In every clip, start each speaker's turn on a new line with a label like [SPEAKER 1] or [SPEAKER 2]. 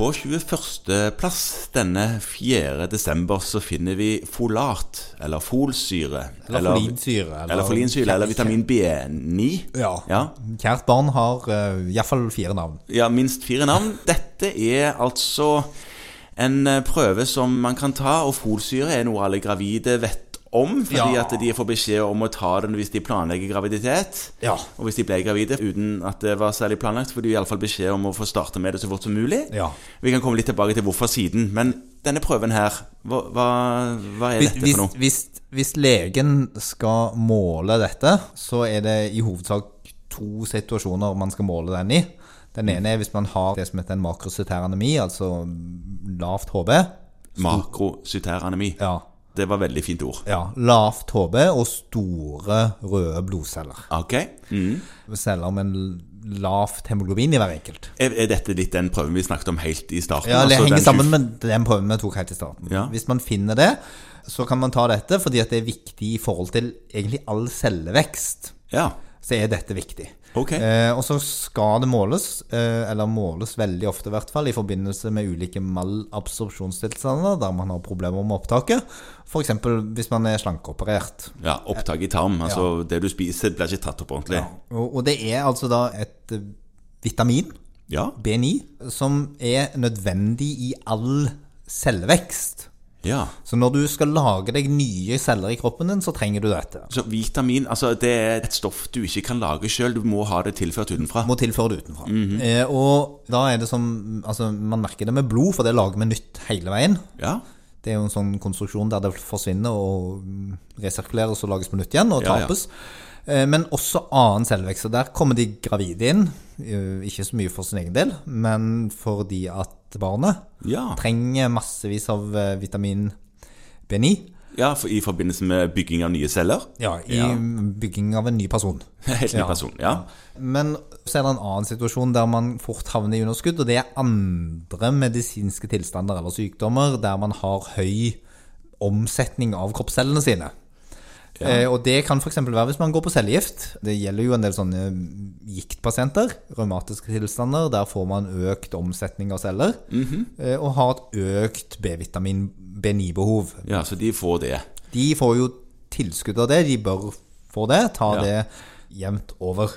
[SPEAKER 1] På 21.-plass denne 4. desember så finner vi folat, eller folsyre.
[SPEAKER 2] Eller folinsyre, eller-
[SPEAKER 1] Eller folinsyre, eller vitamin B9.
[SPEAKER 2] Ja.
[SPEAKER 1] ja.
[SPEAKER 2] Kjært barn har uh, iallfall fire navn.
[SPEAKER 1] Ja, minst fire navn. Dette er altså en eh, prøve som man kan ta, og folsyre er noe alle gravide vet om, fordi
[SPEAKER 2] Ja.
[SPEAKER 1] at de får beskjed om å ta den hvis de planlegger graviditet.
[SPEAKER 2] Ja.
[SPEAKER 1] Og hvis de ble gravide uten at det var særlig planlagt, får de iallfall beskjed om å få starte med det så fort som mulig.
[SPEAKER 2] Ja.
[SPEAKER 1] Vi kan komme litt tilbake til hvorfor siden, men denne prøven her, hva, hva, hva er
[SPEAKER 2] Hvis,
[SPEAKER 1] dette
[SPEAKER 2] hvis,
[SPEAKER 1] for noe?
[SPEAKER 2] hvis, hvis legen skal måle dette, så er det i hovedsak to situasjoner man skal måle den i. Den ene er hvis man har det som heter en makrocytær anemi, altså lavt HB.
[SPEAKER 1] Makrocytær anemi.
[SPEAKER 2] Ja,
[SPEAKER 1] Det var veldig fint ord.
[SPEAKER 2] ja lavt HB og store røde blodceller.
[SPEAKER 1] Ok. Mm.
[SPEAKER 2] Celler med en lavt hemoglobin i hver enkelt.
[SPEAKER 1] Er, er dette litt den prøven vi snakket om helt i starten?
[SPEAKER 2] Ja, Det
[SPEAKER 1] Altså,
[SPEAKER 2] henger
[SPEAKER 1] den
[SPEAKER 2] sammen med den prøven vi tok helt i starten.
[SPEAKER 1] Ja.
[SPEAKER 2] Hvis man finner det, så kan man ta dette fordi at det er viktig i forhold til egentlig all cellevekst.
[SPEAKER 1] Ja,
[SPEAKER 2] Så er dette viktig.
[SPEAKER 1] ok.
[SPEAKER 2] Eh, og så skal det måles, eh, eller måles veldig ofte i hvert fall, i forbindelse med ulike malabsorpsjonstilstander der man har problemer med opptaket. F.eks. hvis man er slankeoperert.
[SPEAKER 1] Ja, Opptak i tarm. Altså, det du spiser, blir ikke tatt opp ordentlig.
[SPEAKER 2] Og, og det er altså da et eh, vitamin.
[SPEAKER 1] Ja.
[SPEAKER 2] B9, som er nødvendig i all cellevekst.
[SPEAKER 1] ja.
[SPEAKER 2] Så når du skal lage deg nye celler i kroppen din, så trenger du dette.
[SPEAKER 1] Så vitamin altså, det er et stoff du ikke kan lage sjøl. Du må ha det tilført utenfra.
[SPEAKER 2] Må tilføre det utenfra.
[SPEAKER 1] Mhm.
[SPEAKER 2] eh, og da er det som Altså, man merker det med blod, for det lager vi nytt hele veien.
[SPEAKER 1] Ja.
[SPEAKER 2] Det er jo en sånn konstruksjon der det forsvinner og mm, resirkuleres og lages på nytt igjen, og
[SPEAKER 1] Ja, ja.
[SPEAKER 2] tapes. Eh, Men også annen cellevekst. Og der kommer de gravide inn. eh, Ikke så mye for sin egen del, men fordi at barnet
[SPEAKER 1] Ja.
[SPEAKER 2] trenger massevis av eh, vitamin B9
[SPEAKER 1] ja, for, I forbindelse med bygging av nye celler.
[SPEAKER 2] i bygging av en ny person.
[SPEAKER 1] Helt ny person. Ja.
[SPEAKER 2] Men så er det en annen situasjon der man fort havner i underskudd, og det er andre medisinske tilstander eller sykdommer der man har høy omsetning av kroppscellene sine. Eh, og det kan f.eks. være hvis man går på cellegift. Det gjelder jo en del sånne giktpasienter, revmatiske tilstander. Der får man økt omsetning av celler, eh, og har et økt B-vitamin B9-behov.
[SPEAKER 1] ja, så de får det.
[SPEAKER 2] De får jo tilskudd av det, de bør få det. Ta
[SPEAKER 1] Ja.
[SPEAKER 2] det jevnt over.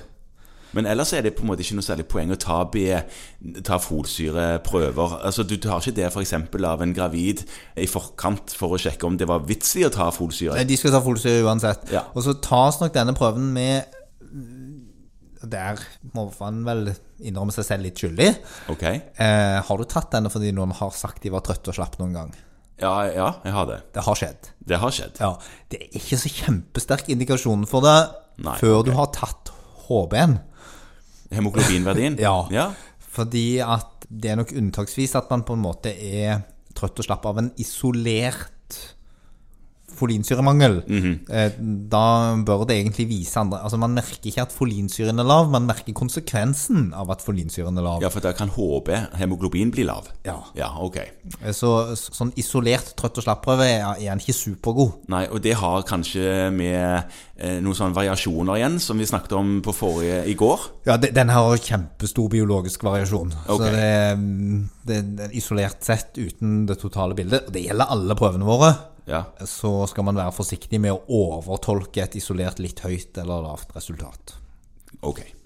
[SPEAKER 1] Men ellers er det på en måte ikke noe særlig poeng å ta, B, ta folsyreprøver. Altså, du tar ikke det f.eks. av en gravid i forkant for å sjekke om det var vits i å ta folsyre.
[SPEAKER 2] Nei, Eh, De skal ta folsyre uansett.
[SPEAKER 1] Ja.
[SPEAKER 2] Og så tas nok denne prøven med mm, Der må man vel innrømme seg selv litt skyldig.
[SPEAKER 1] Ok?
[SPEAKER 2] Eh, har du tatt denne fordi noen har sagt de var trøtte og slapp noen gang?
[SPEAKER 1] Ja, ja, jeg har det.
[SPEAKER 2] Det har skjedd.
[SPEAKER 1] Det har skjedd.
[SPEAKER 2] Ja, Det er ikke så kjempesterk indikasjon for det
[SPEAKER 1] Nei,
[SPEAKER 2] før
[SPEAKER 1] ok.
[SPEAKER 2] du har tatt HB-en.
[SPEAKER 1] Hemoglobinverdien?
[SPEAKER 2] Ja.
[SPEAKER 1] ja.
[SPEAKER 2] Fordi at det er nok unntaksvis at man på en måte er trøtt og slapp av en isolert folinsyremangel.
[SPEAKER 1] Mhm.
[SPEAKER 2] Eh, Da bør det egentlig vise andre Altså Man merker ikke at folinsyren er lav, man merker konsekvensen av at folinsyren er lav.
[SPEAKER 1] Ja, for da kan HB, hemoglobin, bli lav.
[SPEAKER 2] Ja.
[SPEAKER 1] ok.
[SPEAKER 2] Eh, Så så- sånn isolert trøtt og slapp-prøve er er han ikke supergod.
[SPEAKER 1] Nei, og det har kanskje med eh, noen sånne variasjoner igjen, som vi snakket om på forrige i går.
[SPEAKER 2] Ja, de- Den har kjempestor biologisk variasjon.
[SPEAKER 1] Ok.
[SPEAKER 2] Så det, det, det er isolert sett, uten det totale bildet. Og det gjelder alle prøvene våre.
[SPEAKER 1] Ja.
[SPEAKER 2] så skal man være forsiktig med å overtolke et isolert litt høyt eller lavt resultat.
[SPEAKER 1] Ok.